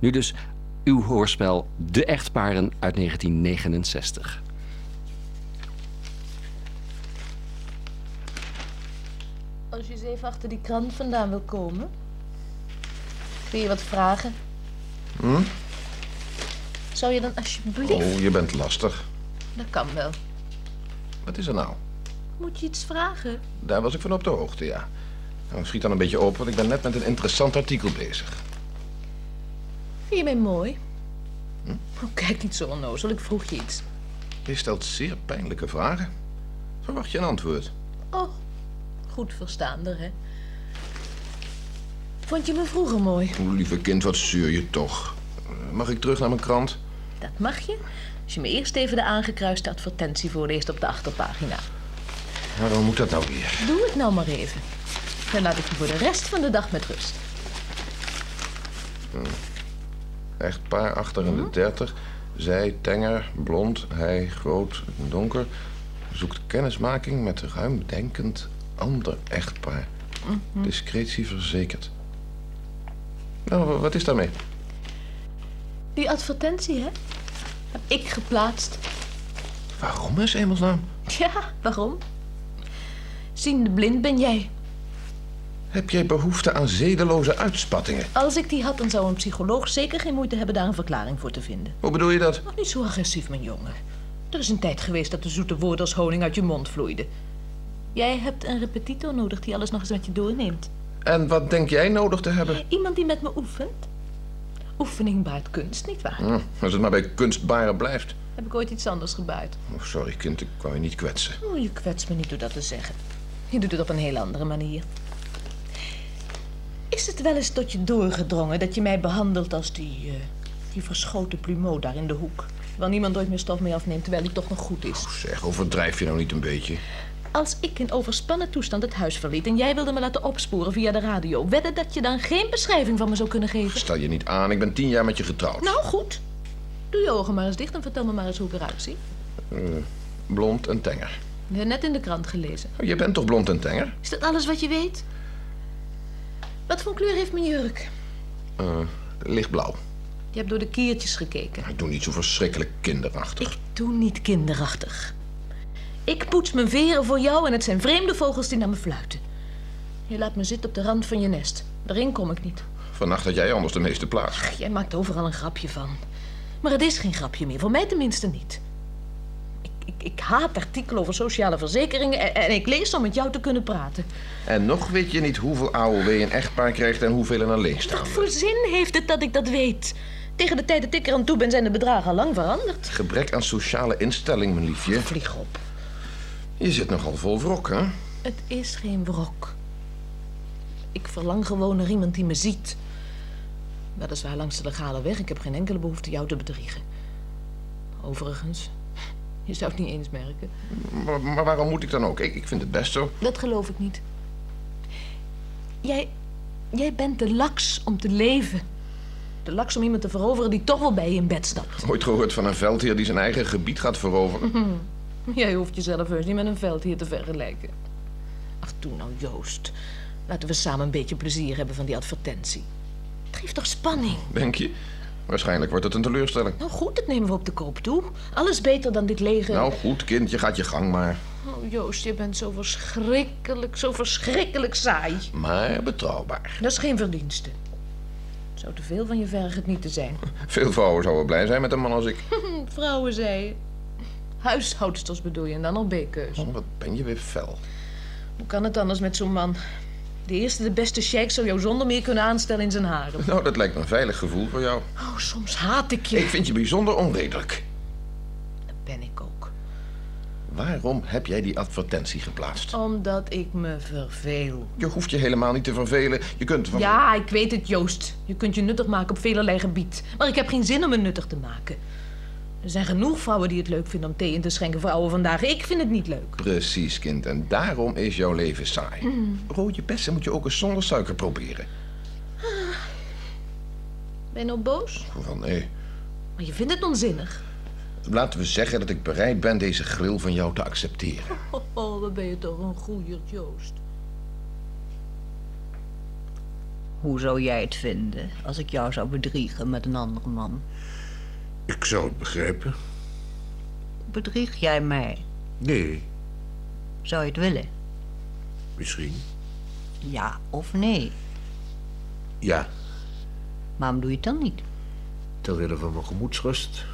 Nu dus uw hoorspel De Echtparen uit 1969. Als je eens even achter die krant vandaan wil komen, wil je wat vragen? Hm? Zou je dan alsjeblieft... Oh, je bent lastig. Dat kan wel. Wat is er nou? Moet je iets vragen? Daar was ik van op de hoogte, ja. Nou, schiet dan een beetje open, want ik ben net met een interessant artikel bezig. Vind je mij mooi? Hm? Oh, kijk niet zo onnozel, ik vroeg je iets. Je stelt zeer pijnlijke vragen. Verwacht je een antwoord? Oh, goed verstaander, hè? Vond je me vroeger mooi? O, lieve kind, wat zuur je toch. Eh, Mag ik terug naar mijn krant? Dat mag je. Als je me eerst even de aangekruiste advertentie voorleest op de achterpagina. Waarom moet dat nou weer? Doe het nou maar even. Dan laat ik je voor de rest van de dag met rust. Echt paar achter in de dertig. Zij tenger, blond, hij groot, donker. Zoekt kennismaking met ruimdenkend ander echtpaar. Mhm. Discretie verzekerd. Nou, wa- wat is daarmee? Die advertentie, hè? Heb ik geplaatst. Waarom is hemelsnaam? Ja, waarom? Ziende blind ben jij. Heb jij behoefte aan zedeloze uitspattingen? Als ik die had, dan zou een psycholoog zeker geen moeite hebben daar een verklaring voor te vinden. Hoe bedoel je dat? Nog niet zo agressief, mijn jongen. Er is een tijd geweest dat de zoete woorden als honing uit je mond vloeiden. Jij hebt een repetitor nodig die alles nog eens met je doorneemt. En wat denk jij nodig te hebben? Iemand die met me oefent. Oefening baart kunst, nietwaar? Hm, als het maar bij kunstbaren blijft. Heb ik ooit iets anders gebaard? Oh, sorry, kind, ik wou je niet kwetsen. Oh, je kwetst me niet door dat te zeggen. Je doet het op een heel andere manier. Is het wel eens tot je doorgedrongen dat je mij behandelt als die, eh, die verschoten plumeau daar in de hoek? Waar niemand ooit meer stof mee afneemt terwijl hij toch nog goed is. Zeg, overdrijf je nou niet een beetje? Als ik in overspannen toestand het huis verliet en jij wilde me laten opsporen via de radio, wedden dat je dan geen beschrijving van me zou kunnen geven? Stel je niet aan, ik ben tien jaar met je getrouwd. Nou goed. Doe je ogen maar eens dicht en vertel me maar eens hoe ik eruit zie. Blond en tenger. Ik heb net in de krant gelezen. Oh, je bent toch blond en tenger? Is dat alles wat je weet? Wat voor kleur heeft mijn jurk? Eh, lichtblauw. Je hebt door de kiertjes gekeken. Ik doe niet zo verschrikkelijk kinderachtig. Ik doe niet kinderachtig. Ik poets mijn veren voor jou en het zijn vreemde vogels die naar me fluiten. Je laat me zitten op de rand van je nest. Daarin kom ik niet. Vannacht had jij anders de meeste plaats. Jij maakt overal een grapje van. Maar het is geen grapje meer, voor mij tenminste niet. Ik, ik, ik haat artikelen over sociale verzekeringen en, en ik lees om met jou te kunnen praten. En nog weet je niet hoeveel AOW een echtpaar krijgt en hoeveel een Wat alleenstaande. voor zin heeft het dat ik dat weet? Tegen de tijd dat ik er aan toe ben, zijn de bedragen al lang veranderd. Gebrek aan sociale instelling, mijn liefje. Vlieg op. Je zit nogal vol wrok, hè? Het is geen wrok. Ik verlang gewoon naar iemand die me ziet. Weliswaar langs de legale weg. Ik heb geen enkele behoefte jou te bedriegen. Overigens, je zou het niet eens merken. Maar, maar waarom moet ik dan ook? Ik, ik vind het best zo. Dat geloof ik niet. Jij, jij bent te laks om te leven. Te laks om iemand te veroveren die toch wel bij je in bed stapt. Ooit gehoord van een veldheer die zijn eigen gebied gaat veroveren? Jij hoeft jezelf heus niet met een veld hier te vergelijken. Ach, doe nou Joost. Laten we samen een beetje plezier hebben van die advertentie. Het geeft toch spanning? Denk je? Waarschijnlijk wordt het een teleurstelling. Nou goed, dat nemen we op de koop toe. Alles beter dan dit lege... Nou goed, kind, je gaat je gang maar. Oh, Joost, je bent zo verschrikkelijk, zo verschrikkelijk saai. Maar betrouwbaar. Dat is geen verdienste. Zou te veel van je vergen het niet te zijn. Veel vrouwen zouden blij zijn met een man als ik. Vrouwen, zei je. Huishoudsters bedoel je, en dan al B-keus. Oh, wat ben je weer fel. Hoe kan het anders met zo'n man? De eerste, de beste sheik zou jou zonder meer kunnen aanstellen in zijn haren. Nou, dat lijkt me een veilig gevoel voor jou. Oh, soms haat ik je. Ik vind je bijzonder onredelijk. Dat ben ik ook. Waarom heb jij die advertentie geplaatst? Omdat ik me verveel. Je hoeft je helemaal niet te vervelen. Je kunt van... Ja, ik weet het, Joost. Je kunt je nuttig maken op velerlei gebied. Maar ik heb geen zin om me nuttig te maken. Er zijn genoeg vrouwen die het leuk vinden om thee in te schenken voor oude vandaag. Ik vind het niet leuk. Precies, kind. En daarom is jouw leven saai. Rode bessen moet je ook eens zonder suiker proberen. Ben je nou boos? Van, nee. Maar je vindt het onzinnig. Laten we zeggen dat ik bereid ben deze gril van jou te accepteren. Oh, oh, wat ben je toch een goeier, Joost. Hoe zou jij het vinden als ik jou zou bedriegen met een andere man? Ik zou het begrijpen. Bedrieg jij mij? Nee, Zou je het willen? misschien. Ja of nee? Ja, Waarom doe je het dan niet? ter wille van mijn gemoedsrust.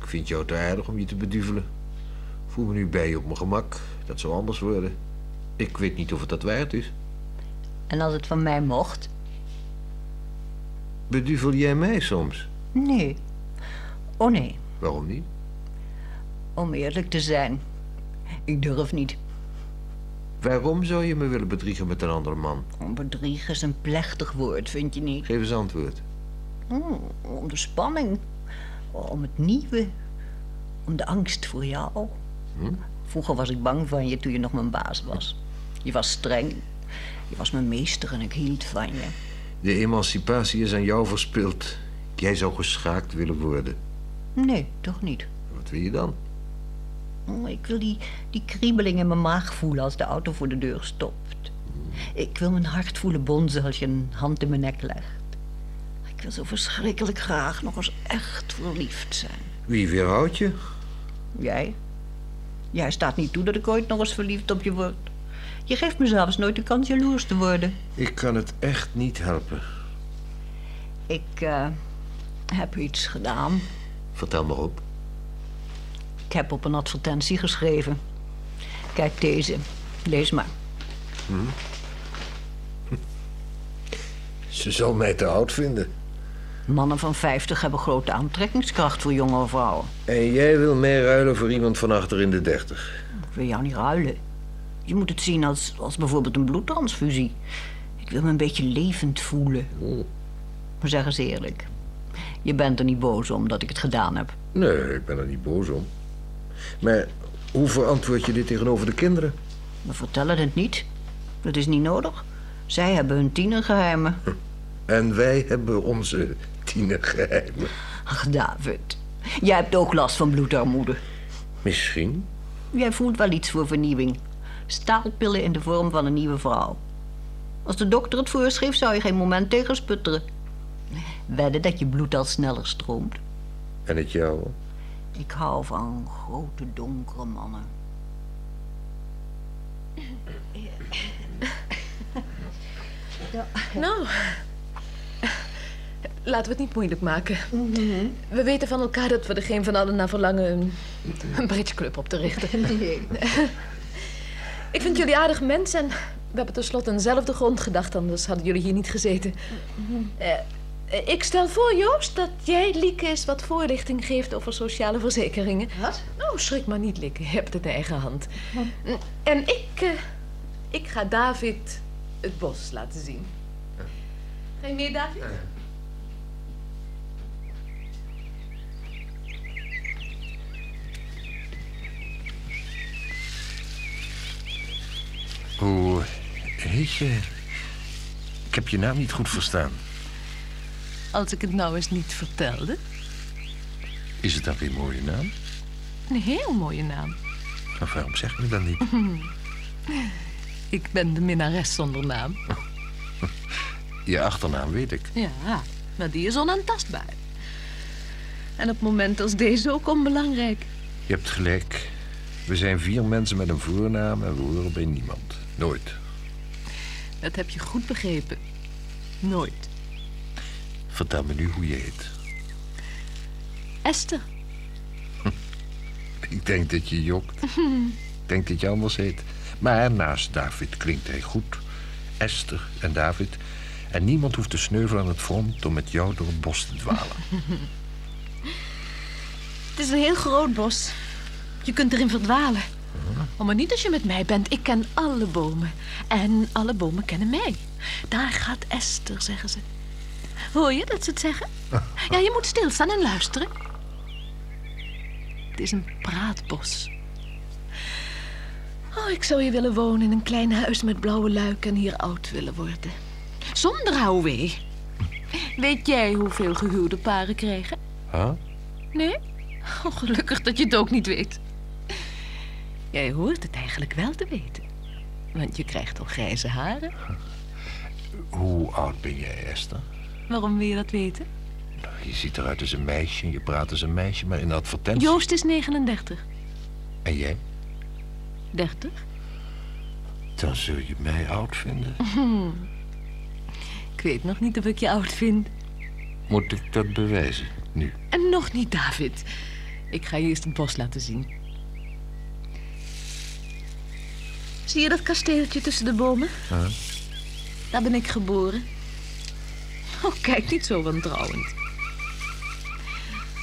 Ik vind jou te aardig om je te beduvelen. Voel me nu bij je op mijn gemak. Dat zou anders worden. Ik weet niet of het dat waard is. En als het van mij mocht? Beduvel jij mij soms? Nee. Oh nee, Waarom niet? om eerlijk te zijn. Ik durf niet. Waarom zou je me willen bedriegen met een andere man? Bedriegen Oh, is een plechtig woord, vind je niet? Geef eens antwoord. Mm, om de spanning, Oh, om het nieuwe, om de angst voor jou. Vroeger was ik bang van je toen je nog mijn baas was. Je was streng, je was mijn meester en ik hield van je. De emancipatie is aan jou verspild. Jij zou geschaakt willen worden. Nee, toch niet. Wat wil je dan? Oh, Ik wil die, die kriebeling in mijn maag voelen als de auto voor de deur stopt. Ik wil mijn hart voelen bonzen als je een hand in mijn nek legt. Ik wil zo verschrikkelijk graag nog eens echt verliefd zijn. Wie weerhoudt je? Jij? Jij staat niet toe dat ik ooit nog eens verliefd op je word. Je geeft me zelfs nooit de kans jaloers te worden. Ik kan het echt niet helpen. Ik eh, heb iets gedaan. Vertel maar op. Ik heb op een advertentie geschreven. Kijk deze. Lees maar. Ze zal mij te oud vinden. Mannen van 50 hebben grote aantrekkingskracht voor jongere vrouwen. En jij wil mij ruilen voor iemand van achter in de dertig. Ik wil jou niet ruilen. Je moet het zien als, als bijvoorbeeld een bloedtransfusie. Ik wil me een beetje levend voelen. Maar zeg eens eerlijk. Je bent er niet boos om dat ik het gedaan heb. Nee, ik ben er niet boos om. Maar hoe verantwoord je dit tegenover de kinderen? We vertellen het niet. Dat is niet nodig. Zij hebben hun tienergeheimen. En wij hebben onze tienergeheimen. Ach, David. Jij hebt ook last van bloedarmoede. Misschien. Jij voelt wel iets voor vernieuwing. Staalpillen in de vorm van een nieuwe vrouw. Als de dokter het voorschreef, zou je geen moment tegensputteren. Wedden dat je bloed al sneller stroomt. En het jouwe? Ik hou van grote, donkere mannen. Nou, laten we het niet moeilijk maken. We weten van elkaar dat we er geen van allen naar verlangen een, een bridgeclub op te richten. Ik vind jullie aardige mensen en we hebben tenslotte eenzelfde grondgedachte, anders hadden jullie hier niet gezeten. Eh, eh, ik stel voor, Joost, dat jij Lieke eens wat voorlichting geeft over sociale verzekeringen. Wat? Nou, schrik maar niet, Lieke. Je hebt het in eigen hand. En ik, eh, ik ga David het bos laten zien. Ga je mee, David? Hoe heet je? Ik heb je naam niet goed verstaan. Als ik het nou eens niet vertelde. Is het dan weer een mooie naam? Een heel mooie naam. Of waarom zeg je me dan niet? Ik ben de minnares zonder naam. Je achternaam weet ik. Ja, maar die is onaantastbaar. En op momenten als deze ook onbelangrijk. Je hebt gelijk. We zijn vier mensen met een voornaam en we horen bij niemand. Nooit. Dat heb je goed begrepen. Nooit. Vertel me nu hoe je heet. Esther, Ik denk dat je jokt. Ik denk dat je anders heet. Maar naast David klinkt hij goed. Esther en David. En niemand hoeft te sneuvelen aan het front om met jou door het bos te dwalen. het is een heel groot bos. Je kunt erin verdwalen. Oh, maar niet als je met mij bent. Ik ken alle bomen. En alle bomen kennen mij. Daar gaat Esther, zeggen ze. Hoor je dat ze het zeggen? Ja, je moet stilstaan en luisteren. Het is een praatbos. Oh, ik zou hier willen wonen in een klein huis met blauwe luiken en hier oud willen worden. Zonder houwee. Weet jij hoeveel gehuwde paren krijgen? Huh? Nee? Oh, gelukkig dat je het ook niet weet. Jij hoort het eigenlijk wel te weten. Want je krijgt al grijze haren. Hoe oud ben jij, Esther? Waarom wil je dat weten? Nou, Je ziet eruit als een meisje, je praat als een meisje, maar in de advertentie... Joost is 39. En jij? 30? Dan zul je mij oud vinden. Ik weet nog niet of ik je oud vind. Moet ik dat bewijzen? Nu. En nog niet, David. Ik ga je eerst het bos laten zien. Zie je dat kasteeltje tussen de bomen? Ja. Daar ben ik geboren. Oh, kijk niet zo wantrouwend.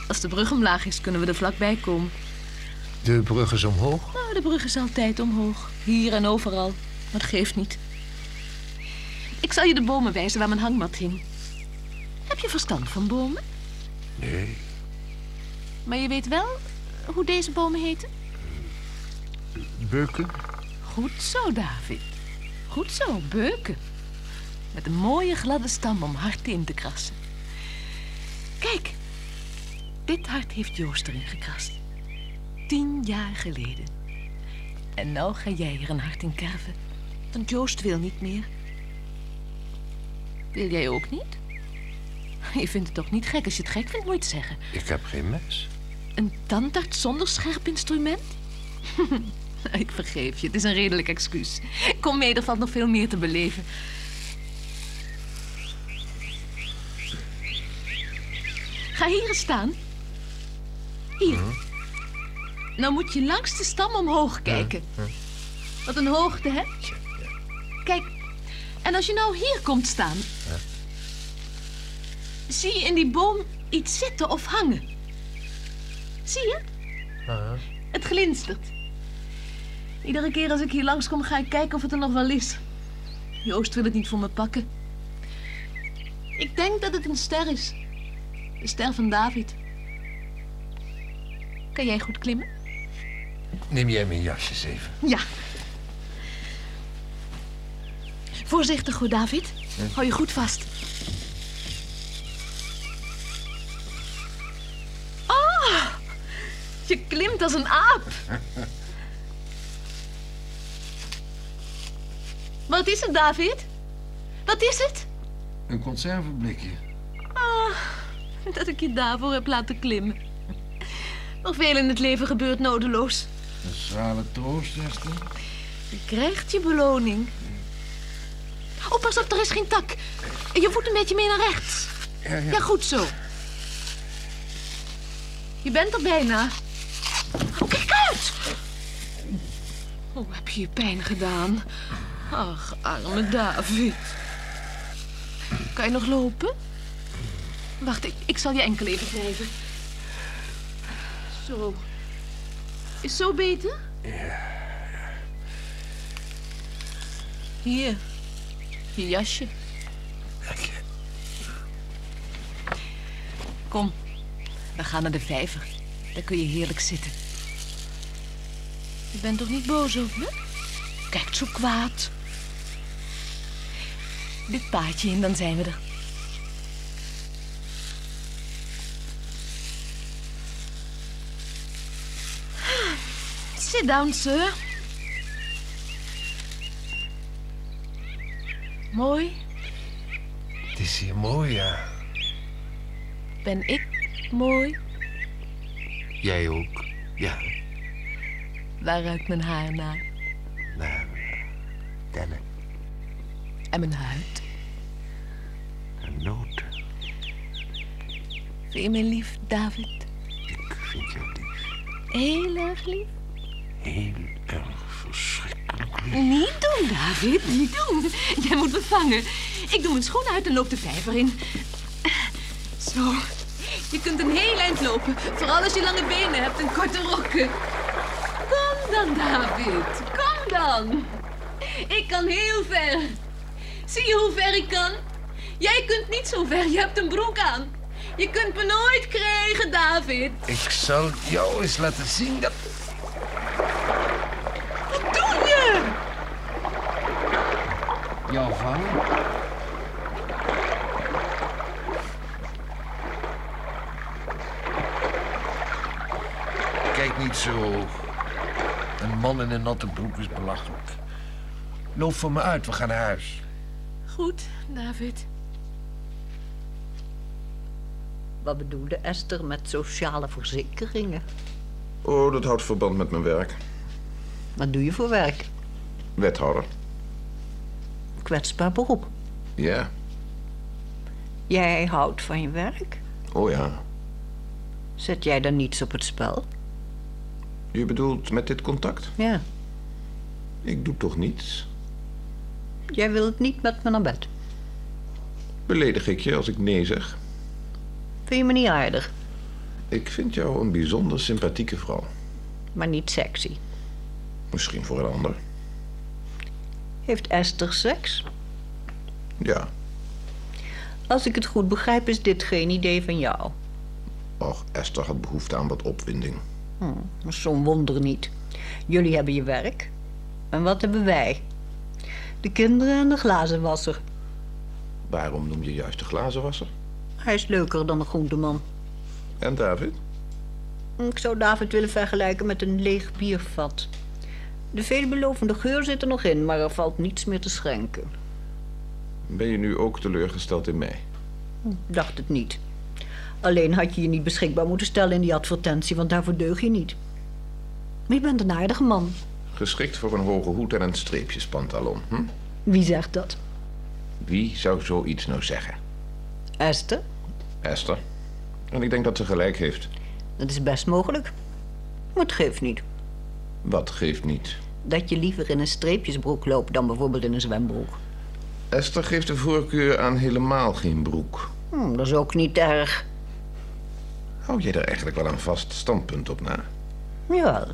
Als de brug omlaag is, kunnen we er vlakbij komen. De brug is omhoog. Nou, de brug is altijd omhoog. Hier en overal. Maar dat geeft niet. Ik zal je de bomen wijzen waar mijn hangmat hing. Heb je verstand van bomen? Nee, Maar je weet wel hoe deze bomen heten? beuken. Goed zo, David. Goed zo, beuken. Met een mooie gladde stam om hard in te krassen. Kijk, dit hart heeft Joost erin gekrast. Tien jaar geleden. En nou ga jij er een hart in kerven. Want Joost wil niet meer. Wil jij ook niet? Je vindt het toch niet gek? Als je het gek vindt, moet je het zeggen. Ik heb geen mes. Een tandarts zonder scherp instrument? Ik vergeef je, het is een redelijk excuus. Kom mee, er valt nog veel meer te beleven. Ga hier eens staan. Hier. Nou moet je langs de stam omhoog kijken. Wat een hoogte, hè? Kijk, en als je nou hier komt staan... zie je in die boom iets zitten of hangen. Zie je? Het glinstert. Iedere keer als ik hier langskom, ga ik kijken of het er nog wel is. Joost wil het niet voor me pakken. Ik denk dat het een ster is. De ster van David. Kan jij goed klimmen? Neem jij mijn jasjes even. Ja. Voorzichtig hoor, David. Hou je goed vast. Oh, je klimt als een aap. Wat is het, David? Wat is het? Een conserveblikje. Dat ik je daarvoor heb laten klimmen. Maar veel in het leven gebeurt nodeloos. Een schrale troost, Esther. Je krijgt je beloning. Oh, pas op, er is geen tak. Je voet een beetje meer naar rechts. Ja, goed zo. Je bent er bijna. Oh, kijk uit! Oh, heb je je pijn gedaan? Ach, arme David. Kan je nog lopen? Wacht, ik, ik zal je enkel even wrijven. Zo. Is zo beter? Hier, je jasje. Kom, we gaan naar de vijver. Daar kun je heerlijk zitten. Je bent toch niet boos op me? Kijkt zo kwaad. Dit paadje in, dan zijn we er. Sit down, sir. Mooi Het is hier mooi, ja. ben ik mooi. Jij ook. Ja, Waar ruikt mijn haar naar? nou, tellen En mijn huid? en noten. Vind je me lief, David? Ik vind jou lief. Heel erg lief. Heel erg verschrikkelijk lief. Niet doen, David, niet doen. Jij moet me vangen. Ik doe mijn schoen uit en loop de vijver in. Zo. Je kunt een heel eind lopen. Vooral als je lange benen hebt en korte rokken. Kom dan, David. Kom dan. Ik kan heel ver. Zie je hoe ver ik kan? Jij kunt niet zo ver. Je hebt een broek aan. Je kunt me nooit krijgen, David. Ik zal jou eens laten zien dat... Wat doe je? Jouw vader? Kijk niet zo hoog. Een man in een natte broek is belachelijk. Loop voor me uit, we gaan naar huis. goed, David. Wat bedoelde Esther met sociale verzekeringen? Oh, dat houdt verband met mijn werk. Wat doe je voor werk? Wethouder. Kwetsbaar beroep. Ja. Jij houdt van je werk? Oh ja. Zet jij dan niets op het spel? Je bedoelt met dit contact? Ja. Ik doe toch niets? Jij wilt niet met me naar bed. Beledig ik je als ik nee zeg? Vind je me niet aardig, Ik vind jou een bijzonder sympathieke vrouw. maar niet sexy. Misschien voor een ander. Heeft Esther seks? Ja. Als ik het goed begrijp, is dit geen idee van jou. Och, Esther had behoefte aan wat opwinding. Dat is zo'n wonder niet. Jullie hebben je werk. En wat hebben wij? De kinderen en de glazenwasser. Waarom noem je juist de glazenwasser? Hij is leuker dan de groenteman. En David? Ik zou David willen vergelijken met een leeg biervat. De veelbelovende geur zit er nog in, maar er valt niets meer te schenken. Ben je nu ook teleurgesteld in mij? Dacht het niet. Alleen had je je niet beschikbaar moeten stellen in die advertentie, want daarvoor deug je niet. Maar je bent een aardige man. Geschikt voor een hoge hoed en een streepjespantalon. Hm? Wie zegt dat? Wie zou zoiets nou zeggen? Esther? Esther. En ik denk dat ze gelijk heeft. Dat is best mogelijk. Maar het geeft niet. Wat geeft niet? Dat je liever in een streepjesbroek loopt dan bijvoorbeeld in een zwembroek. Esther geeft de voorkeur aan helemaal geen broek. Hm, dat is ook niet erg. Hou jij daar eigenlijk wel een vast standpunt op na? Ja.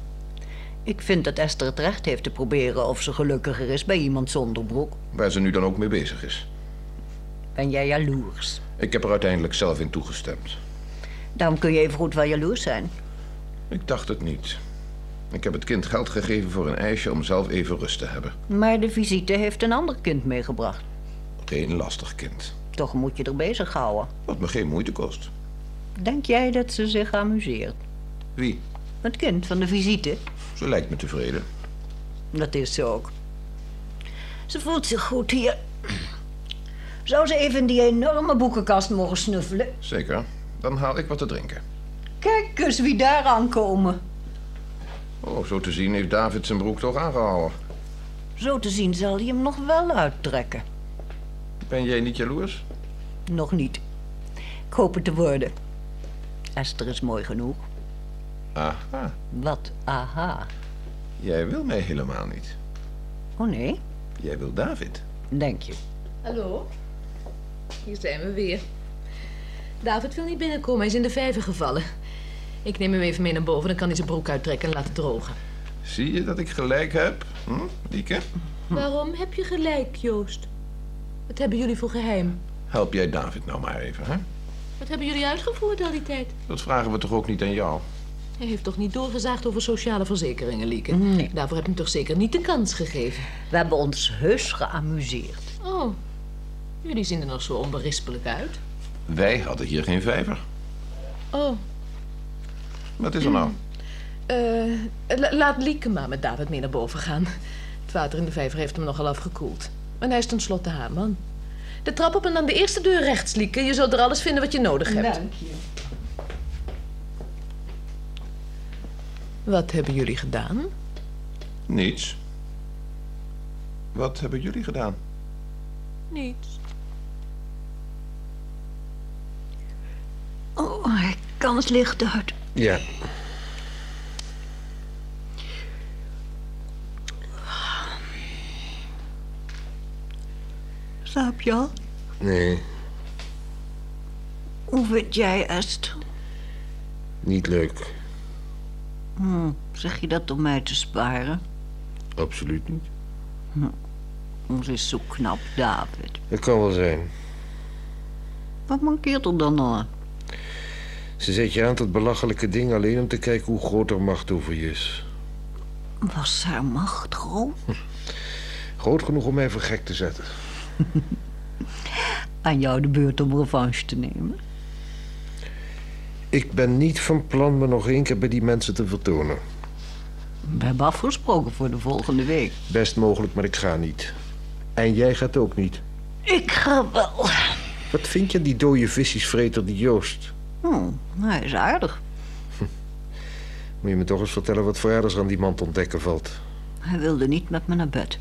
Ik vind dat Esther het recht heeft te proberen of ze gelukkiger is bij iemand zonder broek. Waar ze nu dan ook mee bezig is. Ben jij jaloers? Ik heb er uiteindelijk zelf in toegestemd. Daarom kun je even goed wel jaloers zijn. Ik dacht het niet. Ik heb het kind geld gegeven voor een ijsje om zelf even rust te hebben. Maar de visite heeft een ander kind meegebracht. Geen lastig kind. Toch moet je er bezig houden. Wat me geen moeite kost. Denk jij dat ze zich amuseert? Wie? Het kind van de visite? Ze lijkt me tevreden. Dat is ze ook. Ze voelt zich goed hier. Zou ze even in die enorme boekenkast mogen snuffelen? Zeker. Dan haal ik wat te drinken. Kijk eens wie daar aankomen. Oh, zo te zien heeft David zijn broek toch aangehouden. Zo te zien zal hij hem nog wel uittrekken. Ben jij niet jaloers? Nog niet. Ik hoop het te worden. Esther is mooi genoeg. Aha. Wat aha. Jij wil mij helemaal niet. Oh nee, Jij wil David. denk je. Hallo? Hier zijn we weer. David wil niet binnenkomen, hij is in de vijver gevallen. Ik neem hem even mee naar boven, dan kan hij zijn broek uittrekken en laten drogen. Zie je dat ik gelijk heb? Hm, Lieke? Waarom heb je gelijk, Joost? Wat hebben jullie voor geheim? Help jij David nou maar even, hè? Wat hebben jullie uitgevoerd al die tijd? Dat vragen we toch ook niet aan jou? Hij heeft toch niet doorgezaagd over sociale verzekeringen, Lieke? Daarvoor heb je hem toch zeker niet de kans gegeven? We hebben ons heus geamuseerd. Oh, jullie zien er nog zo onberispelijk uit. Wij hadden hier geen vijver. Oh, Wat is er nou? eh, la- laat Lieke maar met David mee naar boven gaan. Het water in de vijver heeft hem nogal afgekoeld. En hij is tenslotte haar man. De trap op en dan de eerste deur rechts, Lieke. Je zult er alles vinden wat je nodig hebt. je. Wat hebben jullie gedaan? Niets. Wat hebben jullie gedaan? Niets. Oh, ik kan het licht uit. Ja. Slaap je al? Nee, Hoe vind jij Esther? niet leuk. Zeg je dat om mij te sparen? Absoluut niet. Ons is zo knap, David. Dat kan wel zijn. Wat mankeert er dan aan? Ze zet je aan tot belachelijke dingen alleen om te kijken hoe groot haar macht over je is. Was haar macht groot? Groot genoeg om mij voor gek te zetten. Aan jou de beurt om revanche te nemen. Ik ben niet van plan me nog één keer bij die mensen te vertonen. We hebben afgesproken voor de volgende week. Best mogelijk, maar ik ga niet. En jij gaat ook niet. Ik ga wel. Wat vind je aan die dode visjesvreter, die Joost? Hm, hij is aardig. Moet je me toch eens vertellen wat voor aardigs er aan die man te ontdekken valt. Hij wilde niet met me naar bed.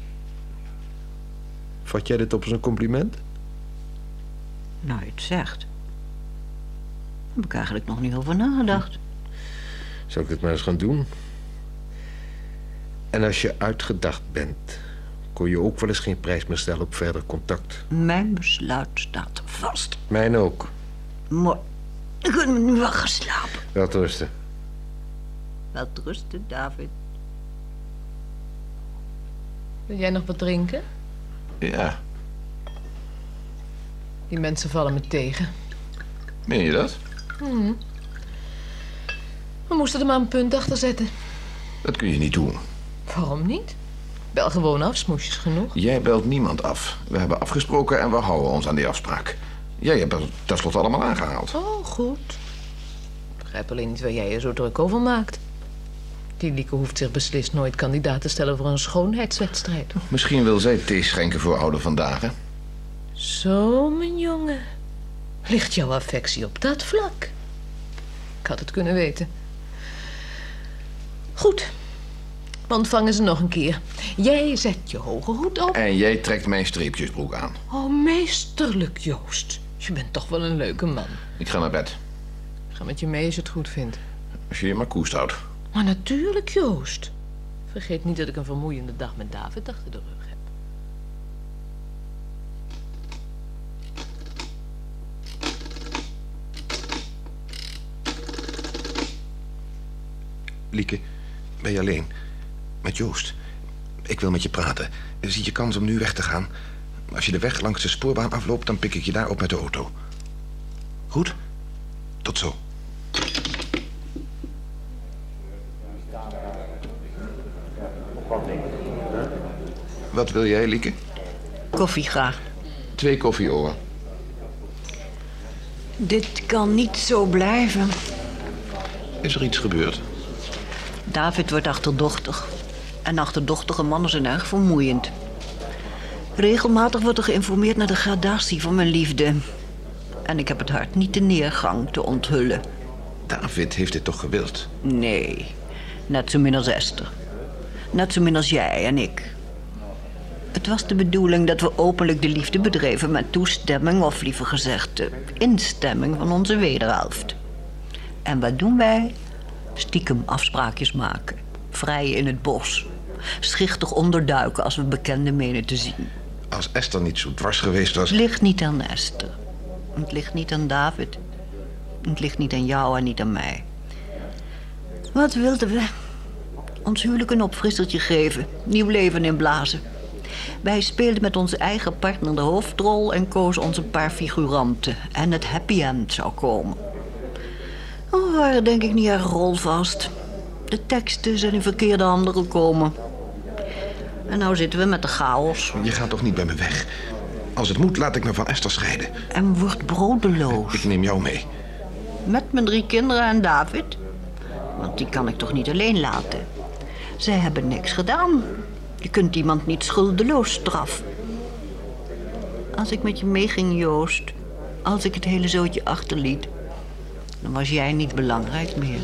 Vat jij dit op als een compliment? Nou, je het zegt. Daar heb ik eigenlijk nog niet over nagedacht. Zou ik dit maar eens gaan doen? En als je uitgedacht bent, kon je ook wel eens geen prijs meer stellen op verder contact. Mijn besluit staat vast. Mijn ook. Mooi. Ik kan nu wel gaan slapen. Wel te rusten. Welterusten, David. Wil jij nog wat drinken? Ja, Die mensen vallen me tegen. meen je dat? We moesten er maar een punt achter zetten. Dat kun je niet doen. Waarom niet? Bel gewoon af, smoesjes genoeg. Jij belt niemand af. We hebben afgesproken en we houden ons aan die afspraak. Jij hebt het tenslotte allemaal aangehaald. Oh, goed. Ik begrijp alleen niet waar jij er zo druk over maakt. Die Lieke hoeft zich beslist nooit kandidaat te stellen voor een schoonheidswedstrijd. Misschien wil zij thee schenken voor oude vandaag, hè? Zo, mijn jongen. Ligt jouw affectie op dat vlak? Ik had het kunnen weten. Goed. We ontvangen ze nog een keer. Jij zet je hoge hoed op. En jij trekt mijn streepjesbroek aan. Oh, meesterlijk, Joost. Je bent toch wel een leuke man. Ik ga naar bed. Ik ga met je mee als je het goed vindt. Als je je maar koest houdt. Maar natuurlijk, Joost. Vergeet niet dat ik een vermoeiende dag met David achter de rug heb. Lieke, ben je alleen? Met Joost. Ik wil met je praten. Zie je kans om nu weg te gaan? Als je de weg langs de spoorbaan afloopt, dan pik ik je daar op met de auto. Goed? Tot zo. Wat wil jij, Lieke? Koffie graag. Twee koffieoren. Dit kan niet zo blijven. Is er iets gebeurd? David wordt achterdochtig. En achterdochtige mannen zijn erg vermoeiend. Regelmatig wordt er geïnformeerd naar de gradatie van mijn liefde. En ik heb het hart niet de neergang te onthullen. David heeft dit toch gewild? Nee, net zo min als Esther. Net zo min als jij en ik. Het was de bedoeling dat we openlijk de liefde bedreven met toestemming, of liever gezegd, de instemming van onze wederhelft. En wat doen wij? Stiekem afspraakjes maken. Vrij in het bos. Schichtig onderduiken als we bekenden menen te zien. Als Esther niet zo dwars geweest was... Het ligt niet aan Esther. Het ligt niet aan David. Het ligt niet aan jou en niet aan mij. Wat wilden we? Ons huwelijk een opfrissertje geven, nieuw leven inblazen. Wij speelden met onze eigen partner de hoofdrol en kozen onze paar figuranten. En het happy end zou komen. We waren denk ik niet erg rolvast. De teksten zijn in verkeerde handen gekomen. En nou zitten we met de chaos Je gaat toch niet bij me weg? Als het moet, laat ik me van Esther scheiden. en wordt broodeloos. Ik neem jou mee. Met mijn drie kinderen en David. Want die kan ik toch niet alleen laten. Zij hebben niks gedaan. Je kunt iemand niet schuldeloos straffen. Als ik met je meeging, Joost. Als ik het hele zootje achterliet. Dan was jij niet belangrijk meer.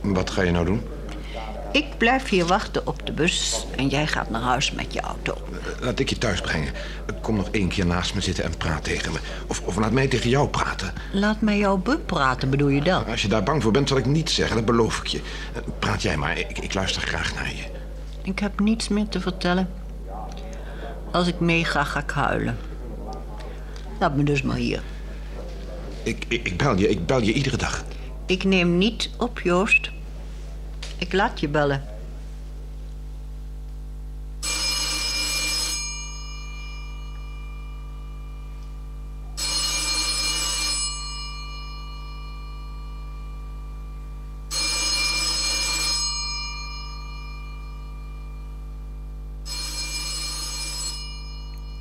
Wat ga je nou doen? Ik blijf hier wachten op de bus en jij gaat naar huis met je auto. Laat ik je thuis brengen. Kom nog één keer naast me zitten en praat tegen me. Of, of laat mij tegen jou praten. Laat mij jou bepraten, bedoel je dat? Als je daar bang voor bent, zal ik niets zeggen. Dat beloof ik je. Eh, Praat jij maar. Ik, ik luister graag naar je. Ik heb niets meer te vertellen. Als ik meega, ga ik huilen. Laat me dus maar hier. Ik, ik, ik bel je. Ik bel je iedere dag. Ik neem niet op, Joost. Ik laat je bellen.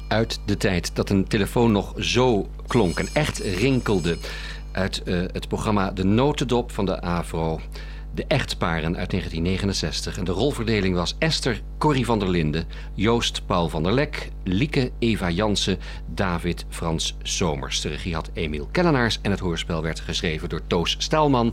Uit de tijd dat een telefoon nog zo klonk en echt rinkelde. Uit eh, het programma De Notendop van de AVRO. De echtparen uit 1969. En de rolverdeling was Esther, Corrie van der Linden, Joost, Paul van der Lek, Lieke, Eva Jansen, David, Frans Somers. De regie had Emiel Kellenaars en het hoorspel werd geschreven door Toos Staalman